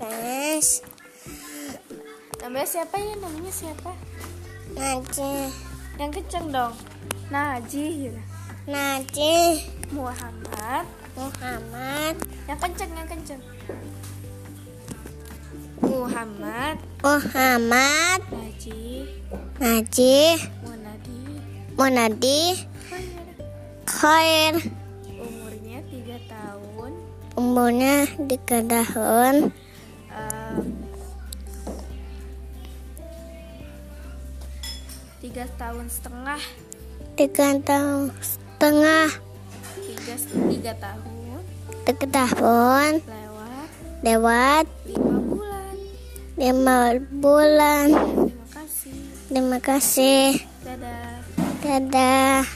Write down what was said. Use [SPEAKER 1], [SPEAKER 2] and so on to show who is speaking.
[SPEAKER 1] Mas
[SPEAKER 2] Namanya siapa ya? Namanya siapa?
[SPEAKER 1] Najih
[SPEAKER 2] Yang kenceng dong. Najih. gitu.
[SPEAKER 1] Najih
[SPEAKER 2] Muhammad.
[SPEAKER 1] Muhammad
[SPEAKER 2] Yang kenceng, yang kenceng. Muhammad.
[SPEAKER 1] Muhammad
[SPEAKER 2] Najih.
[SPEAKER 1] Najih
[SPEAKER 2] Munadi.
[SPEAKER 1] Munadi Khair
[SPEAKER 2] Umurnya 3 tahun.
[SPEAKER 1] umurnya 3 tahun
[SPEAKER 2] Eh, tiga tahun setengah
[SPEAKER 1] 3 tahun setengah
[SPEAKER 2] tiga tiga tahun
[SPEAKER 1] 3 tahun
[SPEAKER 2] lewat
[SPEAKER 1] lewat
[SPEAKER 2] lima bulan
[SPEAKER 1] 5 bulan
[SPEAKER 2] terima kasih
[SPEAKER 1] terima kasih
[SPEAKER 2] dadah
[SPEAKER 1] dadah